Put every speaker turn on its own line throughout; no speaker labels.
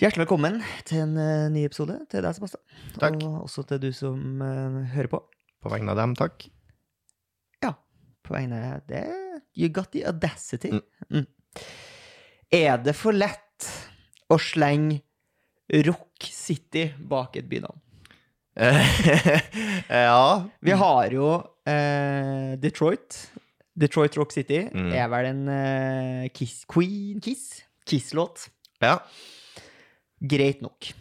Hjertelig velkommen til en eh, ny episode til deg, Sebastian.
Takk.
Og også til du som eh, hører på.
På vegne av dem, takk.
På vegne av det You got the audacity.
Mm.
Mm. Er det for lett å slenge Rock City bak et bynavn?
ja.
Vi har jo eh, Detroit. Detroit Rock City
Mm.
er vel en eh, Kiss, Queen Kiss. Kiss-låt.
ja.
Greit nok.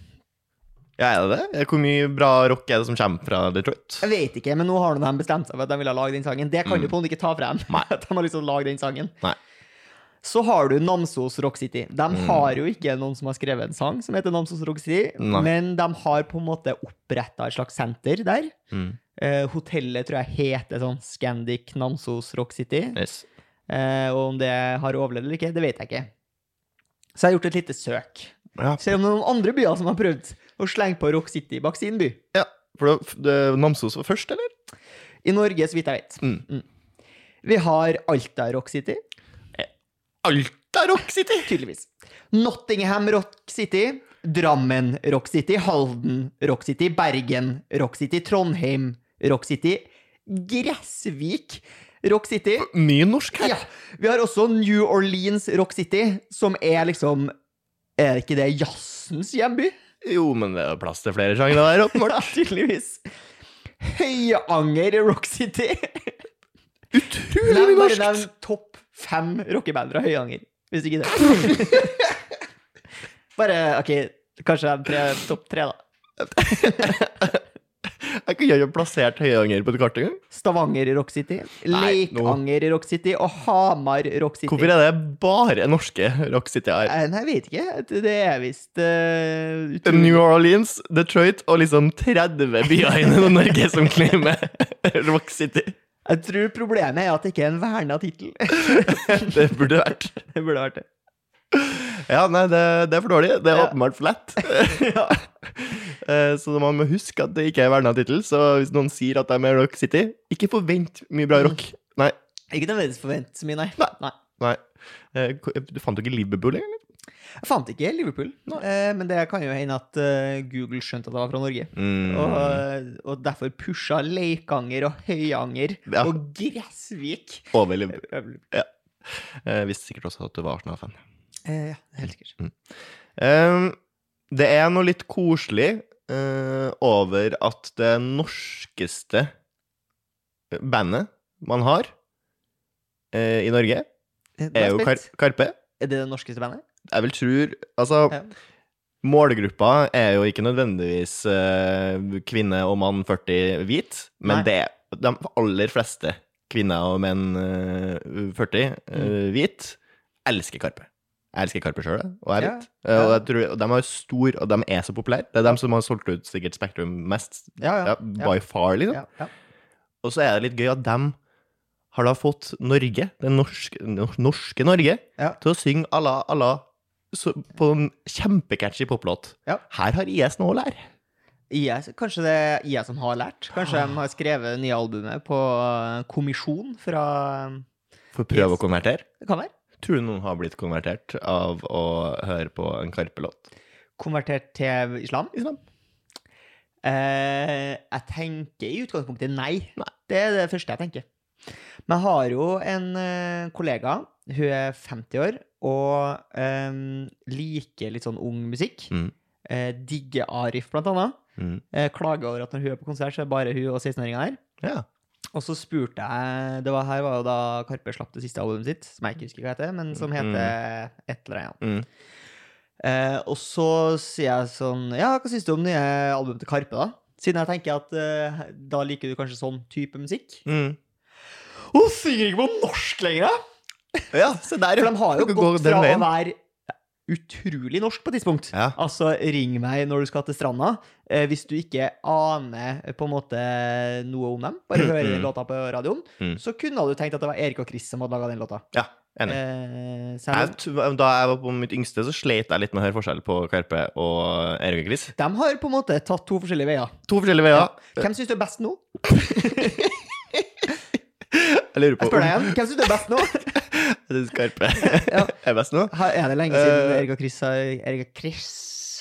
Ja, er det det? Hvor mye bra rock er det som kommer fra Detroit?
Jeg vet ikke, men nå har de bestemt seg for at de ville lage den sangen. Det kan
Mm.
du på en måte ikke ta frem.
Nei.
At de har lyst til å lage den sangen.
Nei.
Så har du Namsos Rock City. De
Mm.
har jo ikke noen som har skrevet en sang som heter Namsos Rock City,
Nei.
men de har på en måte oppretta et slags senter der.
Mm.
Eh, hotellet tror jeg heter sånn Scandic Namsos Rock City.
Yes.
Eh, og om det har overlevd eller ikke, det vet jeg ikke. Så jeg har gjort et lite søk.
Ja.
Se om det er noen andre byer som har prøvd å slenge på Rock City bak sin by.
ja. For det, det, Namsos var først, eller?
I Norge, så vidt jeg vet.
Mm.
Vi har Alta Rock City,
Alta Rock City!
tydeligvis. Nottingham Rock City. Drammen Rock City. Halden Rock City. Bergen Rock City. Trondheim Rock City. Gressvik Rock City.
Mye norsk her.
Ja, Vi har også New Orleans Rock City, som er liksom Er ikke det jazzens hjemby?
Jo, men det er plass til flere sjangre der, åpenbart.
Ja, tydeligvis. Høyanger Rock City.
Utrolig
Nevn
mye
bare nevn
norsk!
topp fem rockeband fra Høyanger, hvis ikke det. bare OK, kanskje de tre, topp tre, da.
Jeg kunne ikke ha plassert Høyanger på et kart engang.
Stavanger Rock City,
Nei, nå-
Leikanger Rock City og Hamar Rock City.
Hvorfor er det bare norske Rock City her?
Eh, Nei, jeg vet ikke. Det er visst eh, utrolig-
New Orleans, Detroit og liksom 30 byer i Norge som claimer Rock City.
Jeg tror problemet er at det ikke er en verna tittel.
Det burde vært.
Det burde vært det.
Ja, nei, det, det er for dårlig. Det er
Ja.
åpenbart for lett.
Ja.
Eh, Så man må huske at det ikke er verna tittel. Så hvis noen sier at de er Rock City, ikke forvent mye bra rock. Nei.
Ikke nødvendigvis forventet så mye, nei.
Nei. nei. Eh, ko- Du fant jo ikke Liverpool engang?
Jeg fant ikke Liverpool, eh, men det kan jo hende at eh, Google skjønte at det var fra Norge. Og, eh,
Mm.
og derfor pusha Leikanger og Høyanger
Ja.
og Gressvik.
Over Liverpool.
Øvl-
Eh, Visste sikkert også at du var Arsenal-fan.
Eh, ja, helt sikkert.
Eh, Det er noe litt koselig eh, over at det norskeste bandet man har eh, i Norge,
Eh, nå
er
jeg
jo Kar
spent.
Karpe.
Er det det norskeste bandet?
Jeg vil tror Altså,
Ja.
målgruppa er jo ikke nødvendigvis eh, kvinne og mann 40 hvit, men
Nei.
det er de aller fleste kvinner og menn eh, 40 eh,
Mm.
hvit elsker Karpe. Jeg elsker Karpe sjøl, og jeg
Ja,
vet. Eh, Og
ja.
jeg tror, og de er jo stor, og de er så populære. Det er dem som har solgt ut sikkert Spektrum mest,
Ja,
ja, by far, liksom.
ja, ja.
Og så er det litt gøy at dem har da fått Norge, det norske, nor- norske Norge,
Ja.
til å synge alla, alla så, på en kjempecatchy poplåt.
Ja.
Her har IS noe å lære.
IS, kanskje det er IA som har lært? Kanskje de har skrevet det nye albumet på eh, kommisjon fra
For å prøve
Yes.
å konvertere.
Det kan være.
Tror du noen har blitt konvertert av å høre på en Karpe-låt?
Konvertert til islam?
Islam.
Eh, jeg tenker i utgangspunktet nei.
Nei.
Det er det første jeg tenker. Men jeg har jo en eh, kollega, hun er 50 år, og eh, liker litt sånn ung musikk.
Mm.
Eh, digger Arif, blant annet.
Mm.
Eh, klager over at når hun er på konsert, så er bare hun og 16-åringa der.
Ja.
Og så spurte jeg Det var her var jo da Karpe slapp det siste albumet sitt, som jeg ikke husker hva heter, men som heter et eller annet.
Mm.
Eh, og så sier jeg sånn Ja, hva syns du om nye albumet til Karpe, da? Siden jeg tenker at eh, da liker du kanskje sånn type musikk.
Mm.
Hun synger ikke på norsk lenger, da!
Ja, se der,
For de har jo
Dere går
gått
den
fra å
veien.
være utrolig norsk på et tidspunkt.
Ja.
Altså, ring meg når du skal til stranda, eh, hvis du ikke aner eh, på en måte noe om dem. Bare
Mm,
hører
mm.
den låta på radioen.
Mm.
Så kunne du tenkt at det var Erik og Chris som hadde laga den låta.
ja, enig.
Eh,
Jeg,
selv om
tror- da jeg var på mitt yngste, så sleit jeg litt med å høre forskjell på Karpe og Erik og Chris.
de har på en måte tatt to forskjellige veier.
To forskjellige veier.
Hvem syns du er best nå?
Jeg lurer på
Jeg spør deg igjen. Hvem syns du er best nå?
Jeg syns Karpe
Ja.
er best nå.
Her er det lenge siden
Eh,
Erika Chris har Erika Chris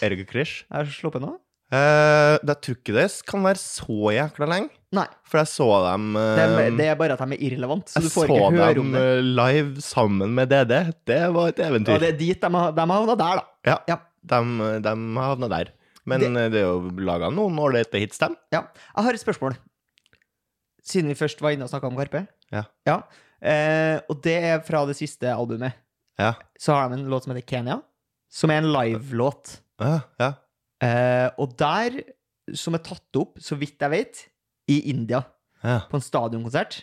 Ergo Krish.
Har jeg sluppet nå?
Eh, jeg tror ikke det kan være så jækla lenge.
Nei.
For jeg så dem eh,
Det er, det er bare at de er irrelevant, så du
Jeg
får
så
ikke høre om
dem
det.
eh, live sammen med DD. Det var et
Ja,
eventyr.
det er dit de har, de har havna der, da.
De, de havna der. Men
Det-
det, det er jo laga noen ålreite hits, dem.
Jeg har et spørsmål. Siden vi først var inne og snakka om Karpe.
Ja.
Eh, og det er fra det siste albumet.
Ja.
Så har de en låt som heter Kenya, som er en live-låt.
Ja, ja.
Eh, og der, som er tatt opp, så vidt jeg vet, i India,
ja.
på en stadionkonsert.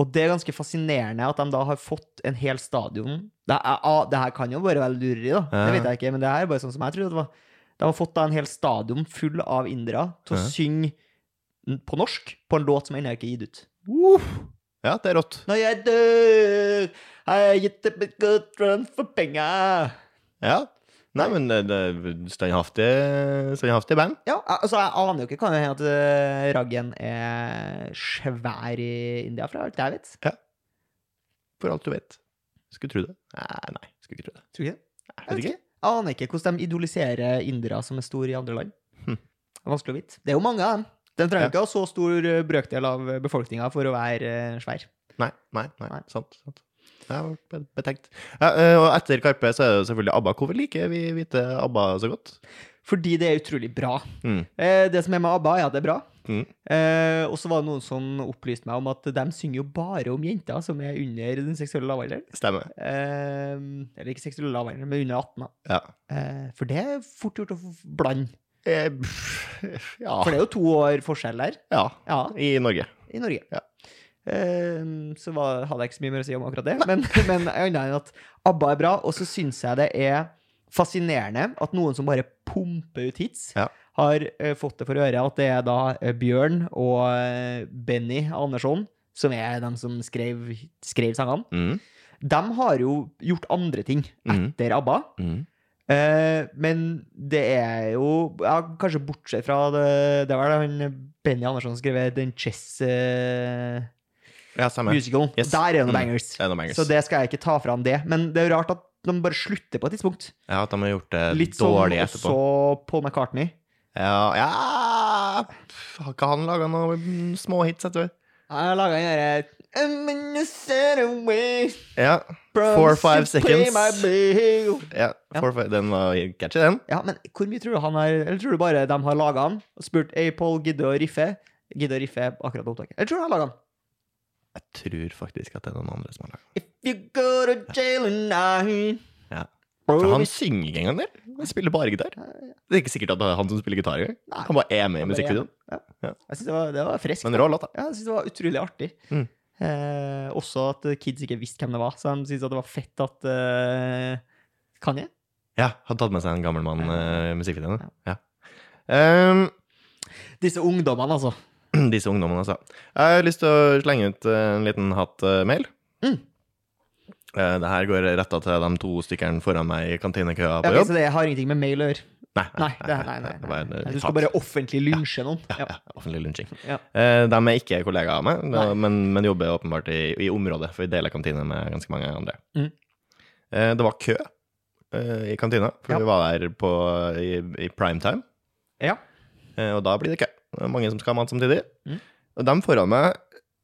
Og det er ganske fascinerende at de da har fått en hel stadion Det, er, ah, det her kan jo bare være lureri, da. Det
Ja.
vet jeg ikke, men det her er bare sånn som jeg trodde det var. De har fått da en hel stadion full av indere til å
Ja.
synge n- på norsk på en låt som ennå ikke er gitt ut.
ja det er rått.
Når jeg dør, har jeg gitt dem et godt run for penga.
Ja. Nei, men det, det er standhaftig, standhaftig band.
Ja, altså jeg aner jo ikke. Kan jo hende at eh, Raggen er svær i India, fra alt jeg vet.
For alt du vet. Skulle tro det. Nei, nei skulle ikke tro det.
Tror du ikke det?
Jeg
Jeg
vet
vet
ikke.
ikke. Jeg aner ikke hvordan de idoliserer indere som er store i andre land.
Hm.
Det er vanskelig å vite. Det er jo mange av dem. Den trenger
Ja.
ikke ha så stor eh, brøkdel av befolkninga for å være eh, svær.
Nei, nei, nei,
Nei.
sant. sant. Jeg har vært be- betenkt. Ja, eh, og etter Karpe så er det jo selvfølgelig ABBA. Hvorfor liker vi hvite ABBA så godt?
Fordi det er utrolig bra.
Mm.
Eh, Det som er med ABBA, er at det er bra.
Mm.
Eh, og så var det noen som opplyste meg om at de synger jo bare om jenter som er under den seksuelle lavalderen.
Stemmer.
Eh, eller ikke seksuelle lavalderen, men under 18, da.
Ja.
Eh, for det er fort gjort å f- blande.
Eh, pff, ja.
For det er jo to år forskjell der.
ja.
Ja,
I Norge.
i Norge.
Ja.
Eh, så var, hadde jeg ikke så mye mer å si om akkurat det. Men, men annet enn at ABBA er bra. Og så syns jeg det er fascinerende at noen som bare pumper ut hits,
Ja.
har eh, fått det for øre at det er da eh, Bjørn og eh, Benny Andersson, som er dem som skrev, skrev sangene,
Mm.
de har jo gjort andre ting
Mm.
etter ABBA.
Mm.
Eh, men det er jo ja, Kanskje bortsett fra det, det var det han Benny Andersson skrev den chess eh,
Ja, stemmer.
musicalen.
Yes.
Der er det
Mm.
noen bangers.
Det er noe bangers.
Så det skal jeg ikke ta fra ham, det. Men det er jo rart at de bare slutter på et tidspunkt.
Ja, at de har gjort det
Litt sånn som
dårlig
også
etterpå.
Paul McCartney.
Ja, ja. pff, Har ikke han laga noen små hits, vet du?
Jeg laga den derre I'm in a set away
Ja.
from
Four, five
to pay
seconds.
my bill.
ja.
Ja.
For, for, den var catchy, den.
Ja, men hvor mye tror du han har Eller tror du bare de har laga han og spurt Hey, Paul, gidder du å riffe? Gidder å riffe akkurat på opptaket? Eller tror du han laga han?
Jeg tror faktisk at det er noen andre som har laga den.
If you go to jail tonight
Ja.
Bro,
For han
hvis-
synger ikke engang der. Han spiller bare gitar. Det er ikke sikkert at det er han som spiller gitar engang.
Nei.
Han bare er
Han bare
med i
er
musikkvideoen.
Jeg synes det var, det var friskt.
Men rå låt, da.
Ja, jeg synes det var utrolig artig.
Mm.
Eh, også at kids ikke visste hvem det var, så de syntes at det var fett at eh, Kanye.
Ja, han tatt med seg en gammel mann eh, i musikkvideoen. Ja.
Disse ungdommene, altså.
Ehm, disse ungdommene, altså. Jeg har lyst til å slenge ut eh, en liten hatt-mail. Eh,
Mm.
det her går retta til de to stykkene foran meg i kantinekøa
Ja,
på
ok,
jobb.
så det har ingenting med mail å gjøre.
Nei,
Nei, det, nei, nei,
det
nei,
var en, eh,
Du
hat.
skal bare offentlig lynsje noen. Ja.
ja, offentlig lunsjing.
Ja.
Eh, de er ikke kollegaer av meg,
Nei.
da- men, men jobber åpenbart i, i området, for vi deler kantine med ganske mange andre.
Mm.
Eh, det var kø eh, i kantina, for
Ja.
vi var der på, i, i primetime.
Ja.
Eh, og da blir det kø. Det er mange som skal ha mat samtidig.
Mm.
Og dem foran meg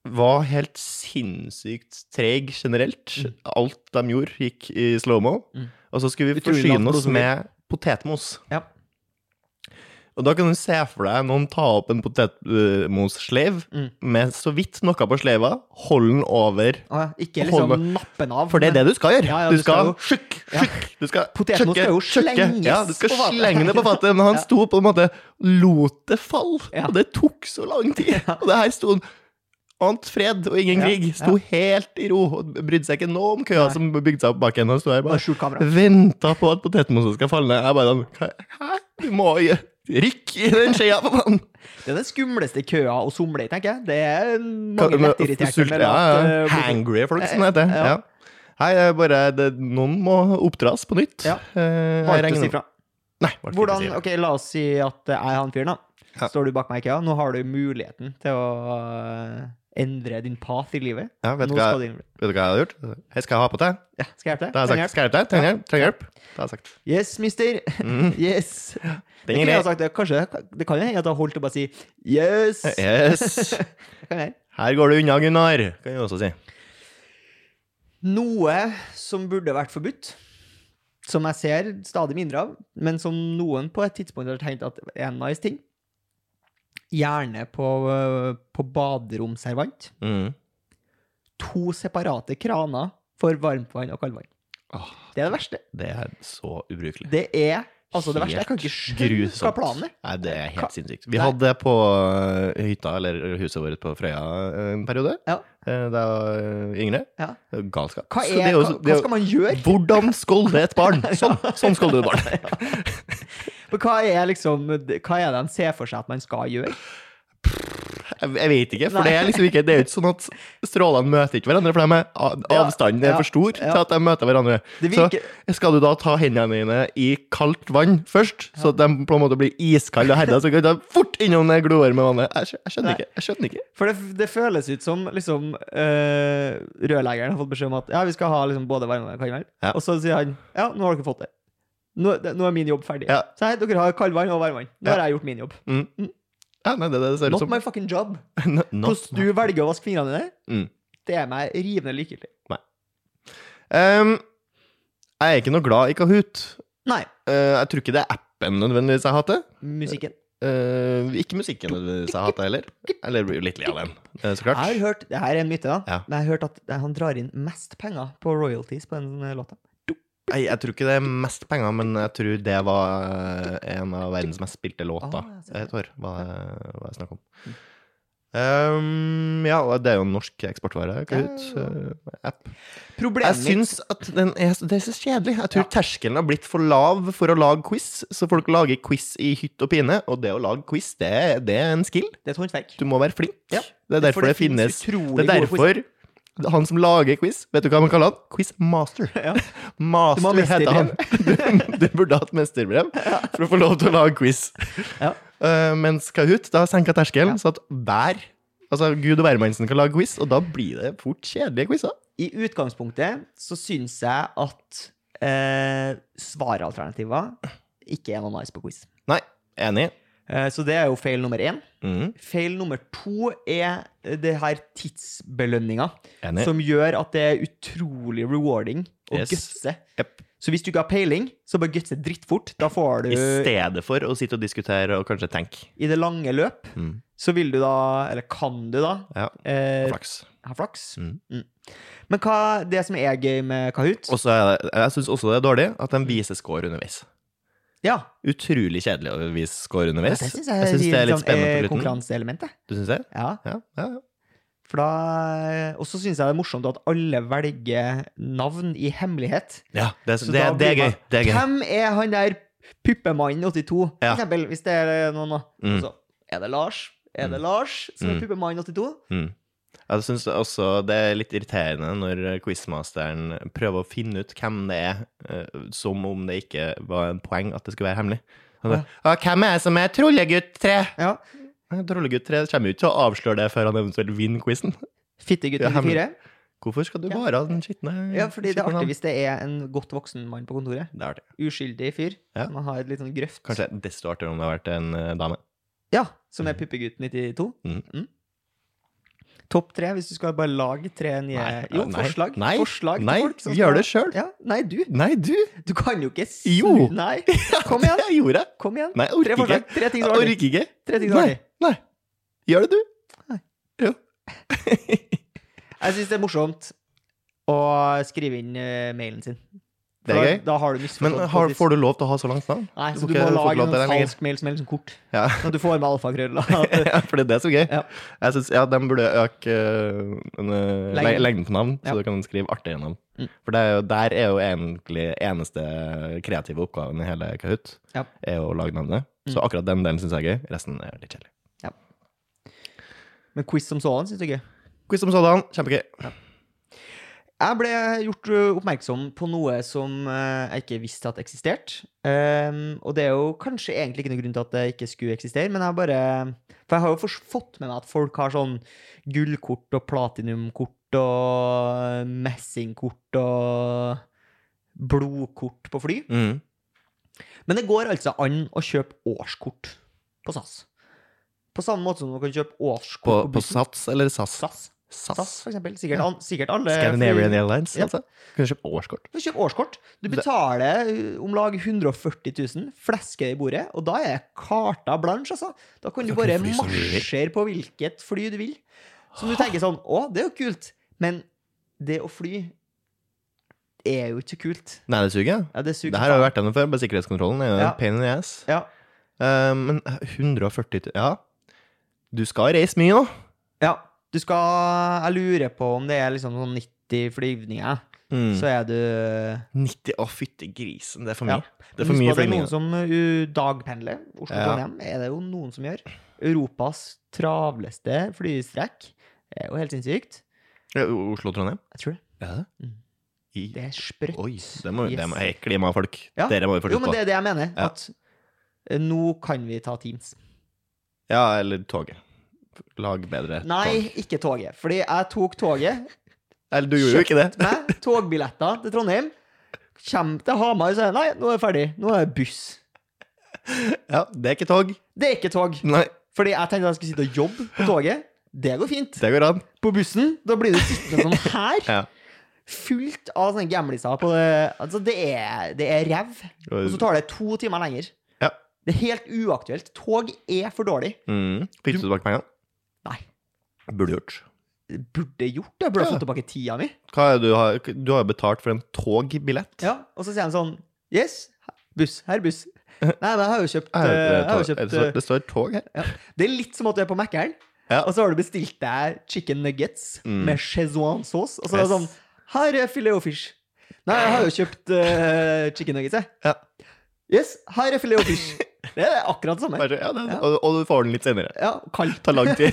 var helt sinnssykt treig generelt. Alt de gjorde, gikk i slow-mo.
Mm.
Og så skulle vi
Utrolig lavt
forsyne oss
blodsukkervekt.
med potetmos.
Ja.
Og da kan du se for deg noen ta opp en potetmossleiv
Mm.
med så vidt noe på sleiva, holde den over.
Å ja, ikke
Hold
liksom
med-
nappen av.
For det er det du skal gjøre.
Ja, ja,
du,
du skal
skal, sjukk,
Ja.
sjukk. Du skal
Potetmos skal jo
sjukke, sjukke.
slenges
Ja, du skal
på fatet.
slenge det på fatet. Men han
Ja.
sto på en måte lot det falle.
Ja.
Og det tok så lang tid. Og det her sto han Ant fred og ingen
Ja,
krig. Sto helt i ro og brydde seg ikke nå om køa
Nei.
som bygde seg opp bak henne. Og sto her bare
Bare skjult kamera.
Venta på at potetmosen skal falle ned. Jeg bare sånn "Hva- Hæ? Du må jo rykke i den skjea, for faen!
Det er den skumleste køa å somle i, tenker jeg. Det er
Kan-
mange
men-
lettirriterte
sult-
med
ja, ja.
lavt, eh,
Hangry folk, som det heter.
Ja.
Ja. Hei, jeg bare det, Noen må oppdras på nytt.
Ja.
Eh, jeg
Valgte å
regner-
si fra.
Nei, valgte ikke å
Hvordan,
si fra.
ok, La oss si at jeg er han fyren, da.
Ja.
Står du bak meg i køa? Nå har du muligheten til å øh, Endre din path i livet.
Ja, vet,
Nå
du hva,
skal du inn-
vet du hva jeg hadde gjort? Hei, skal jeg ha på deg?
Ja, skal jeg hjelpe deg?
Da har jeg sagt, skal jeg hjelpe deg? Trenger hjelp? Trenger hjelp? Da har jeg sagt.
Yes, mister.
Mm,
Yes.
den
Jeg kunne
er
ha
grei.
sagt det. Kanskje, det kan jo hende at det har holdt å bare si yes.
Eh, Yes.
Det kan hende.
Her går du unna, Gunnar, kan vi også si.
Noe som burde vært forbudt, som jeg ser stadig mindre av, men som noen på et tidspunkt har tenkt at er en nice ting. Gjerne på, øh, på baderomsservant.
Mm.
To separate kraner for varmtvann og kaldvann.
Åh,
Det er det verste.
det er så ubrukelig.
Det er altså det verste. Jeg kan ikke skjønne hva planen er.
Nei, det er
Ka-
helt sinnssykt. Vi
Nei.
hadde det på eh, hytta, eller huset vårt på Frøya eh, en periode,
Ja.
eh, da eh, yngre.
Ja.
Det er jo Galskap.
Hva,
Så
er,
det er jo-
hva,
det er
hva
jo-
skal man gjøre?
Hvordan skolde et barn? Sånn, sånn skolder du et barn.
For Hva er, liksom, hva er det de ser for seg at man skal gjøre?
Jeg, jeg vet ikke, for det er liksom ikke Det er jo ikke sånn at strålene møter ikke hverandre, for de er, a-
Ja,
avstanden er
ja,
for stor til
ja.
at de møter hverandre.
Det virker,
Så skal du da ta hendene dine i kaldt vann først, så at de på en måte blir iskalde og herda, så kan du ta fort innom det glovarme vannet. Jeg, skjø- jeg skjønner
Nei.
ikke. Jeg skjønner ikke.
For det, det føles ut som liksom eh, rørleggeren har fått beskjed om at ja, vi skal ha liksom, både varme og kaldvann.
Ja.
Og så sier han ja, nå har dere fått det. Nå, det, nå er min jobb ferdig.
Ja.
Så her, dere har kaldvann og varmvann. Nå
Ja.
har jeg gjort min jobb.
Ja, nei, det, er liksom- det det ser ut
Not
som.
my fucking job.
N- not
Hvordan du velger å vaske fingrene dine,
Mm.
det er meg rivende likegyldig.
Ehm, jeg er ikke noe glad i Kahoot.
Nei.
Eh, jeg tror ikke det er appen nødvendigvis jeg hater.
Musikken.
Eh, ikke musikken nødvendigvis jeg hater heller. Eller blir jo litt lei av den, eh, så
Jeg
klart.
har hørt, det her er en myte, da.
Ja.
Men jeg har hørt at han drar inn mest penger på royalties på den eh, låta.
Nei, jeg tror ikke det er mest penger, men jeg tror det var eh, en av verdens mest spilte låter
Ah, jeg ser
et år, hva hva jeg snakker om. Ehm, ja, og det er jo en norsk eksportvare, Kahoot.
Ja, ja,
eh, app. Jeg
Problemet mitt
syns at den er, så- det er så kjedelig. Jeg tror terskelen har blitt for lav for å lage quiz, så folk lager quiz i hytt og pine, og det å lage quiz, det, er- det er en skill.
Det er et håndverk.
Du må være flink.
Ja,
Det er derfor
For
det finnes
utrolig
Det er
gode quiz.
derfor han som lager quiz, vet du hva man kaller han? Quizmaster.
Ja. Du må
Master
ha
heter han. Du, du burde hatt mesterbrev for å få lov til å lage quiz.
Ja.
Eh, mens Kahoot da senka terskelen,
Ja.
så at hver Altså Gud og hvermannsen kan lage quiz, og da blir det fort kjedelige quizer.
I utgangspunktet så syns jeg at eh, svaralternativer ikke er noe nice på quiz.
Nei, enig.
Eh, så det er jo feil nummer én.
Mm,
Feil nummer to er det her tidsbelønninga,
enig.
som gjør at det er utrolig rewarding å
Yes.
gutse.
Jep.
Så hvis du ikke har peiling, så bare gutse drittfort. Da får du
I stedet for å sitte og diskutere og kanskje tenke.
I det lange løp
Mm,
så vil du da, eller kan du da,
ja,
eh,
flaks.
ha flaks.
Mm.
Men hva, det som er gøy med Kahoot
Og så er det, jeg syns også det er dårlig at de viser score underveis.
Ja,
Utrolig kjedelig å vise score underveis.
det
Jeg
syns
syns det
sånn,
er litt spennende på slutten.
liksom, eh, konkurranseelementet.
Du syns det?
Ja,
Ja, ja, ja.
for da eh, Og så syns jeg det er morsomt at alle velger navn i hemmelighet.
ja det, er-
Så
det,
da
det
blir
er gøy.
man-
Det er gøy.
Hvem er han der puppemannen 82? For
Ja.
eksempel, hvis det er noen, da.
Mm.
Så er det Lars. Er det
Mm.
Lars som er
Mm.
puppemannen 82?
Mm. Jeg syns også det er litt irriterende når quizmasteren prøver å finne ut hvem det er, eh, som om det ikke var en poeng at det skulle være hemmelig. Han
Ja.
bare, «Å, hvem er det som er Trollegutt 3?
Ja.
Nei, Trollegutt 3 kommer jo ikke til å avsløre det før han eventuelt vinner quizen.
Fittegutt
Ja,
94?
Hvorfor skal du
Ja.
bare ha den skitne
Ja, fordi det er
skitne navn?
artig hvis det er en godt voksen mann på kontoret.
Det er artig.
Uskyldig fyr.
Ja.
Man har et litt sånn grøft.
Kanskje desto artigere om det har vært en eh, dame.
Ja, som er Puppegutt 92.
Mhm.
Mm. Topp tre, hvis du skal bare lage tre nye
Nei,
Jo,
nei,
forslag.
nei,
forslag
nei,
til folk som
gjør
skal-
det selv.
Ja, nei, du.
Nei, du!
Du kan jo ikke s-
Jo.
Nei. Kom igjen.
Jeg gjorde det!
Kom igjen.
Nei, jeg
Tre
orker ikke.
forslag. Tre ting
Jeg
som er artig.
orker ikke.
Tre ting som er
Nei,
artig.
nei. Gjør det, du.
Jeg syns det er morsomt å skrive inn eh, mailen sin.
Det er
For da-
gøy.
Da har du misforstått.
Men har,
på et vis.
får du lov til å ha så langt navn?
Nei,
du
så
får
du må
ikke- du får ikke
lage
lov til
en
det lenger.
falsk mail som er liksom kort.
Ja.
Sånn at du får med alfakrøller.
ja, for det er det som er gøy.
Ja.
Jeg synes, ja, De burde øke øh, en, øh,
Lengden.
le- lengden på navn, så
Ja.
du kan skrive artige navn.
Mm.
For det er jo, der er jo egentlig eneste kreative oppgaven i hele Kahoot
Ja.
er å lage navnet. Så
Mm.
akkurat den delen syns jeg er gøy. Resten er litt kjedelig.
Men quiz som sådan syns jeg er gøy.
Quiz som sådan, kjempegøy.
Jeg ble gjort ø, oppmerksom på noe som ø, jeg ikke visste at eksisterte. Ehm, og det er jo kanskje egentlig ikke noen grunn til at det ikke skulle eksistere, men jeg bare For jeg har jo fors- fått med meg at folk har sånn gullkort og platinumkort og messingkort og blodkort på fly.
Mm.
Men det går altså an å kjøpe årskort på SAS. På samme måte som man kan kjøpe årskort
På,
på,
på
bussen.
Sats eller SAS?
SAS. SAS,
SAS.
for eksempel. Sikkert, an, sikkert alle
Scandinavian
fly-
Airlines,
Ja.
altså. Kunne kjøpt årskort.
Du kjøper årskort. Du betaler uh, om lag 140 000, flesker i bordet, og da er karta blanche, altså. Da kan du
Da kan
bare
du fly som du vil.
marsjere på hvilket fly du vil. Som du tenker sånn Å, det er jo kult. Men det å fly er jo ikke så kult.
Nei, det suger.
Ja, det suger.
Det her har jo vært gjennom før, bare sikkerhetskontrollen er jo
Ja.
en pain in the ass.
Ja.
Eh, men 140 000 Ja, du skal reise mye nå.
ja. Du skal Jeg lurer på om det er liksom sånn 90 flyvninger,
Mm.
så er du
90 Å, fytti grisen, det er for
Ja.
mye. Det er for
Husk
mye
på at det er noen
flyvninger.
som uh, dagpendler. Oslo-Trondheim er det jo noen som gjør. Europas travleste flystrekk. Det er jo helt sinnssykt.
Ja, O- Oslo-Trondheim?
Jeg tror det.
Ja.
Mm.
I,
Det er sprøtt.
oi, det må, det
Yes.
må, hei, klimafolk.
Ja.
Dere må vi få
Jo, men
slutt på.
det er det jeg mener.
Ja.
At uh, nå kan vi ta Teams.
Ja, eller toget. Lag bedre tog.
Nei, ikke toget. Fordi jeg tok toget
Eller du gjorde jo ikke det.
med togbilletter til Trondheim. Kjem til Hamar og sier jeg, nei, nå er jeg ferdig. Nå er det buss.
Ja, det er ikke tog.
Det er ikke tog.
Nei,
Fordi jeg tenkte jeg skulle sitte og jobbe på toget. Det går fint.
det går an.
På bussen, da blir du sittende sånn her.
Ja.
fullt av sånne gamliser på det. Altså, det er, det er rev. Og så tar det to timer lenger.
Ja.
Det er helt uaktuelt. Tog er for dårlig.
Mm. Fikk du tilbake pengene?
Nei.
Burde gjort.
Burde gjort det. Burde
Ja.
fått tilbake tida mi.
Hva er det du, har, du har jo betalt for en togbillett.
Ja. Og så sier han sånn Yes, buss. Her er buss. Nei, men jeg har jo kjøpt,
Er
eh,
det-
jeg har jo
er det
kjøpt
så-
eh,
det står tog her.
Det er litt som at du er på Mækkern,
Ja.
og så har du bestilt deg chicken nuggets
Mm.
med chezouan sauce, og så er det
Yes.
sånn Her er filet og fish. Nei, jeg har jo kjøpt eh, chicken nuggets, jeg.
Ja.
Yes, her er filet og fish. Det er akkurat det samme.
Bare, ja, det,
Ja.
Og, og du får den litt senere.
Ja, kaldt.
Det tar lang tid.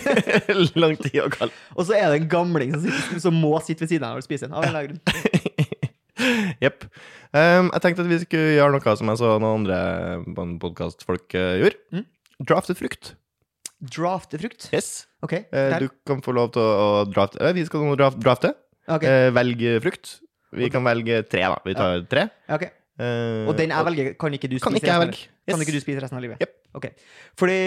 lang tid å kalle.
Og så er det en gamling som, sitter, som må sitte ved siden av og spise en. Av en eller annen grunn.
Jepp. Um, jeg tenkte at vi skulle gjøre noe som jeg så noen andre eh, podkastfolk uh, gjorde.
Mm.
Drafte frukt.
Drafte frukt.
Yes.
Ok.
Eh,
der.
du kan få lov til å å drafte. Eh, vi skal nå draf- drafte.
Ok,
Eh, velge frukt. Vi
Og-
kan velge tre, da. Vi tar tre.
ok.
Eh,
Og den jeg velger, kan ikke du spise?
Kan ikke
resten av
jeg velge.
livet? Kan
Yes.
ikke du spise resten av livet?
Jep.
Ok. Fordi,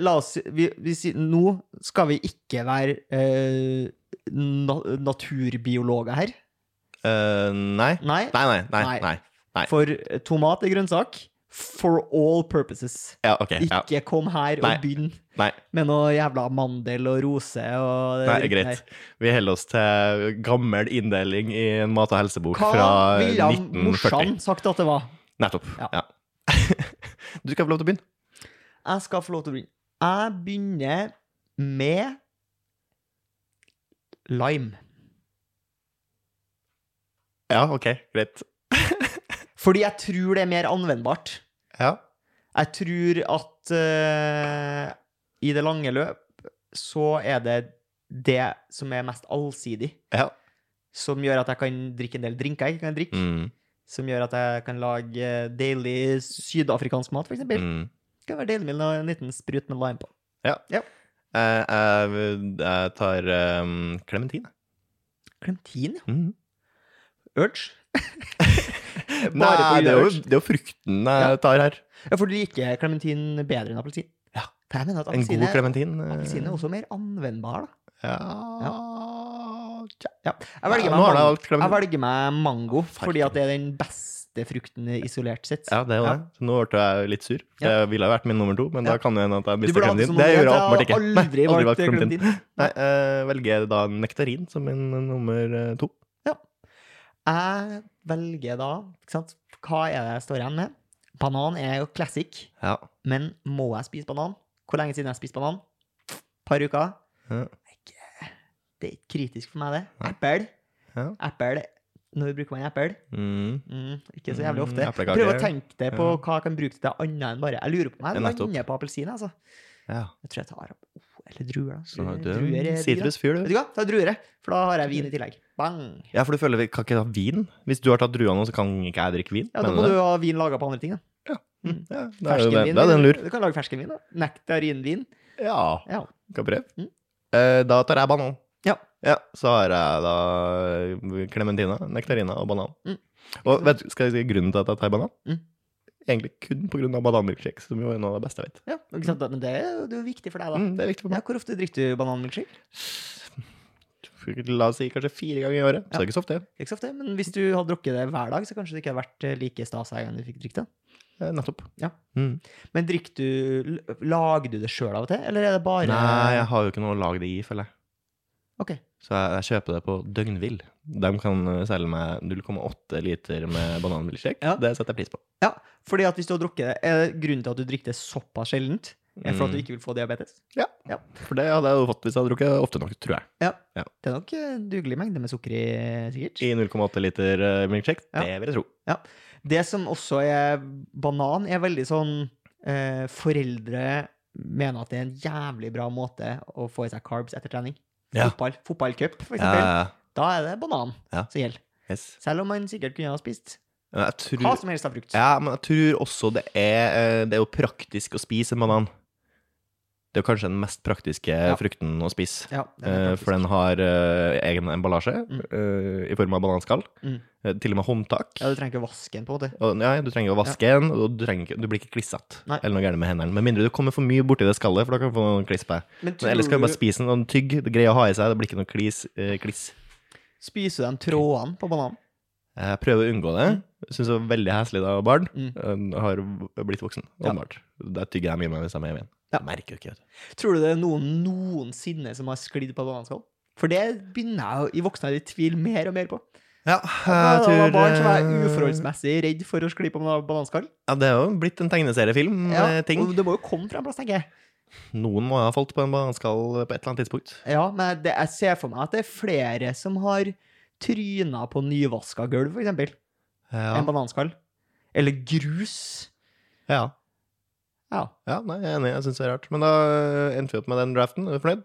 la oss vi, vi, sier- Nå skal vi ikke være eh, na, naturbiologer her.
Eh, nei.
Nei.
Nei, nei, nei.
Nei.
nei.
For tomat er grønnsak. For all purposes.
Ja, OK. Ja.
Ikke kom her
Nei.
og begynn
Nei.
med noe jævla mandel og rose og
Nei, greit. Vi holder oss til gammel inndeling i en mat- og helsebok
Hva
fra
ville han
1940.
morsan sagt at det var?
Nettopp.
Ja.
Ja. du skal få lov til å begynne.
Jeg skal få lov til å begynne. Jeg begynner med lime.
Ja, OK. Greit.
Fordi jeg tror det er mer anvendbart.
Ja.
Jeg tror at eh, i det lange løp så er det det som er mest allsidig,
ja.
som gjør at jeg kan drikke en del drinker jeg ikke kan drikke,
Mm.
som gjør at jeg kan lage eh, deilig sydafrikansk mat, for eksempel.
Mm.
Det kan være deilig med en liten sprut med lime på.
Jeg, jeg, Eh, jeg tar klementin.
Klementin?
Mm.
Urge? Bare
Nei,
på
det er, jo,
urge.
det er jo frukten
Ja.
jeg tar her.
Ja, for du liker klementin bedre enn appelsin?
Ja.
For jeg mener at
En god
appelsin er,
klementin.
appelsin er også mer anvendbar, da.
Ja. Tja.
Jeg velger
Ja,
meg,
nå har jeg
mango,
valgt
jeg
klementin.
velger meg mango fordi
Farken.
at det er den beste frukten isolert sett.
Ja, det er jo det. Så nå ble jeg litt sur. for
Ja.
Jeg ville ha vært min nummer to, men
Ja.
da kan det hende at jeg
Du
mister
burde hatt det
klementin.
som
Det
nominert,
gjorde jeg åpenbart ikke. Nei,
aldri
aldri
valgt
valgt klementin.
klementin.
Nei, jeg velger da nektarin som min nummer eh, to.
Jeg velger da ikke sant? Hva er det jeg står igjen med? Banan er jo classic,
Ja.
men må jeg spise banan? Hvor lenge siden jeg har spist banan? Par uker?
Ja.
Ikke- Det er ikke kritisk for meg, det.
Nei.
Apple.
Ja.
Apple. Når bruker man apple?
Mm.
Mm, ikke så jævlig
Mm,
ofte.
eplekaker.
Prøv å tenke deg på
Ja.
hva jeg kan bruke det til annet enn bare Jeg lurer på om jeg
Ja, nettopp.
lander på appelsin, altså.
ja.
Jeg tror jeg tar opp oh, Eller druer, da.
Så
Druer-
du
druer
er
er
en
digg, da.
sitrusfyr,
Vet
du.
du hva, ta druer, jeg, for da har jeg vin i tillegg. Bang!
Ja, for du føler vi kan ikke ta vin? Hvis du har tatt druer nå, så kan ikke jeg drikke vin?
Ja,
eh,
Da
Mener
må
du
du
det?
ha vin laga på andre ting, da.
Mm, Ja, da er jo det,
Ferskenvin.
da er det en lur.
Du kan lage ferskenvin. da. Nektarinvin.
Ja,
Ja.
kan prøve.
Mm.
Eh, da tar jeg banan.
Ja.
Så har jeg da klementina, nektarina og banan.
Mm.
Og vet du, skal jeg si grunnen til at jeg tar banan?
Mm.
Egentlig kun på grunn av bananmilkshake, som jo er noe av det beste jeg vet.
ja ikke sant? da? Men det er jo det er jo viktig for deg, da.
Mm, det er viktig for meg.
Ja, hvor ofte drikker du bananmilkshake?
La oss si kanskje fire ganger i året, så
Ja.
det er ikke så ofte.
Ikke så ofte, men hvis du hadde drukket det hver dag, så kanskje det ikke hadde vært eh, like stas hver gang du fikk drikke det.
Eh, Nettopp.
Ja.
Mm.
Men drikker du l- Lager du det sjøl av og til, eller er det bare
Nei, jeg har jo ikke noe å lage det i, føler jeg.
Ok.
Så jeg, jeg kjøper det på døgnvill. De kan eh, selge meg 0,8 liter med bananmilkshake.
Ja.
Det setter jeg pris på.
Fordi at hvis du har drukket det, er det grunnen til at du drikker det såpass sjeldent? Er det for at
Mm.
du ikke vil få diabetes?
For det hadde jeg jo fått hvis jeg hadde drukket det ofte nok, tror jeg.
Det er nok eh, dugelig mengde med sukker i, sikkert.
I 0,8 liter eh, milkshake,
Ja.
det vil jeg tro.
Det som også er banan, er veldig sånn eh, Foreldre mener at det er en jævlig bra måte å få i seg carbs etter trening.
Ja.
Fotball, fotballcup, for
Ja,
eksempel.
ja,
Da er det banan
Ja.
som gjelder.
ja. Eh, yes.
Selv om man sikkert kunne ha spist
Men jeg tror,
hva som helst av frukt.
ja, men jeg tror også det er eh, Det er jo praktisk å spise en banan. Det er jo kanskje den mest praktiske frukten å spise.
Ja, det er
Eh,
praktisk.
For den har eh, egen emballasje
Mm.
eh, i form av bananskall.
Mm.
Eh, Til og med håndtak.
ja, du trenger ikke å vaske den, på en måte.
Og, ja, du trenger å vaske den, og du, trenger, ikke- du blir ikke klissete
Nei.
eller noe gærent med hendene. Med mindre du kommer for mye borti det skallet, for da kan du få noen kliss på deg.
Men
Men Ellers kan
tror
du bare spise den og tygg. Det greier å ha i seg, det blir ikke noe klis, eh, kliss.
Spiser du de trådene på bananen?
Jeg prøver å unngå det. Syns det var veldig heslig da jeg var barn. Jeg har blitt voksen,
Mm. Ja.
åpenbart. Der tygger jeg mye mer hvis jeg er med hjem igjen.
Ja.
Jeg merker jo ikke, vet du.
Tror du det er noen noensinne som har sklidd på bananskall? For det begynner jeg jo i voksen alder i tvil mer og mer på. Da
Ja,
jeg
jeg tror
var barn, så var jeg
eh,
uforholdsmessig redd for å skli på banan- bananskall.
Ja, det er jo blitt en tegneseriefilm-ting.
og det må jo komme fra en plass, tenker jeg.
Noen må ha falt på en bananskall på et eller annet tidspunkt.
Ja, men det, jeg ser for meg at det er flere som har tryna på nyvaska gulv, for eksempel.
Ja.
En bananskall. Eller grus.
ja.
Ja.
Ja, nei, jeg er enig. Jeg syns det er rart. Men da eh, endte vi opp med den draften. Er du
Jeg
fornøyd?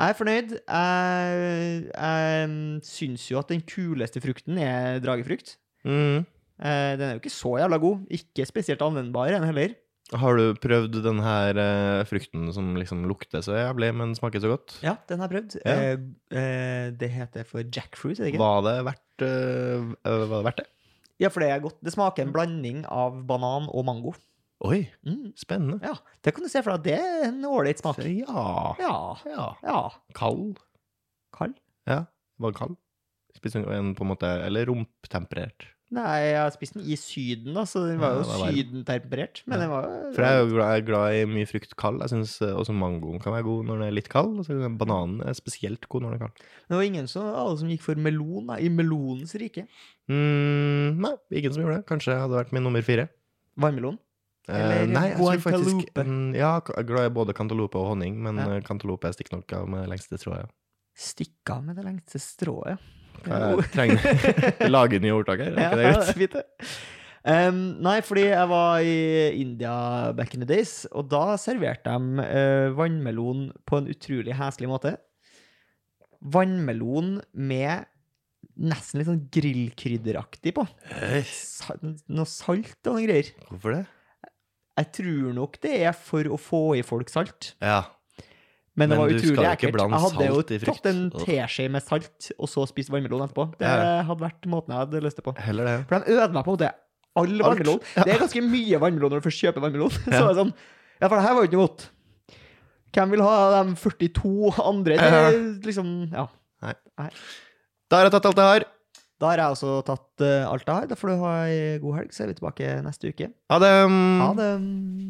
er fornøyd. Jeg, jeg syns jo at den kuleste frukten er dragefrukt.
Mm.
Eh, Den er jo ikke så jævla god. Ikke spesielt anvendbar, den heller.
Har du prøvd den her eh, frukten som liksom lukter så jævlig, men smaker så godt?
Ja, den har jeg prøvd.
Ja.
Eh, eh, Det heter for jackfruit, er det ikke?
Var det verdt, eh, eh, var det, verdt det?
Ja, for det er godt. Det smaker en blanding av banan og mango.
Oi,
Mm.
spennende.
Ja, det kan du se for deg. at Det er en ålreit smak.
Så ja.
Ja.
ja.
ja.
Kald.
Kald?
Var den kald? Spiste du en på en måte Eller rumptemperert?
Nei, jeg har spist den i Syden, da, så den var
Ja,
jo
det var varm.
sydentemperert. Men
Ja.
den var jo
For jeg er jo glad, jeg er glad i mye frukt kald. Jeg syns også mangoen kan være god når den er litt kald. Og så er bananen er spesielt god når den er kald.
Det var ingen som, alle som gikk for melon da, i melonens rike.
Mm, nei, ingen som gjorde det. Kanskje hadde vært min nummer fire.
Vannmelon.
Eh,
Eller
nei, jeg tror faktisk
guantalupe.
mm, Ja, k- jeg er glad i både cantaloupe og honning, men
Ja.
eh, cantaloupe er stikknok av med lengste tråd.
Stikk av med det lengste strået.
Ja. Jeg trenger Vi lager nye ordtak her, er ikke det greit?
er fint, det. Em, nei, fordi jeg var i India back in the days, og da serverte de eh, vannmelon på en utrolig heslig måte. Vannmelon med nesten litt sånn grillkrydderaktig på.
Hei,
Sa- Noe salt og noen greier.
Eh, Hvorfor det?
Jeg tror nok det er for å få i folk salt.
Ja.
Men, det
Men
var
du skal
utrolig
jo ikke
ekkelt.
blande
Jeg hadde jo
salt i frukt.
tatt en teskje med salt og så spist vannmelon etterpå. Det
Ja.
hadde vært måten jeg hadde lyst til på.
Heller det.
For de ødela på en måte all
Alt.
vannmelon. Det er ganske mye vannmelon når du først kjøper vannmelon. Så
Ja.
er det sånn Ja, for det her var jo ikke noe godt. Hvem vil ha de 42 andre? Det er liksom Ja.
Da har jeg tatt alt jeg har.
Da har jeg også tatt eh, alt jeg har. Da får du ha ei god helg, så er vi tilbake neste uke.
Ha det.
Ha det.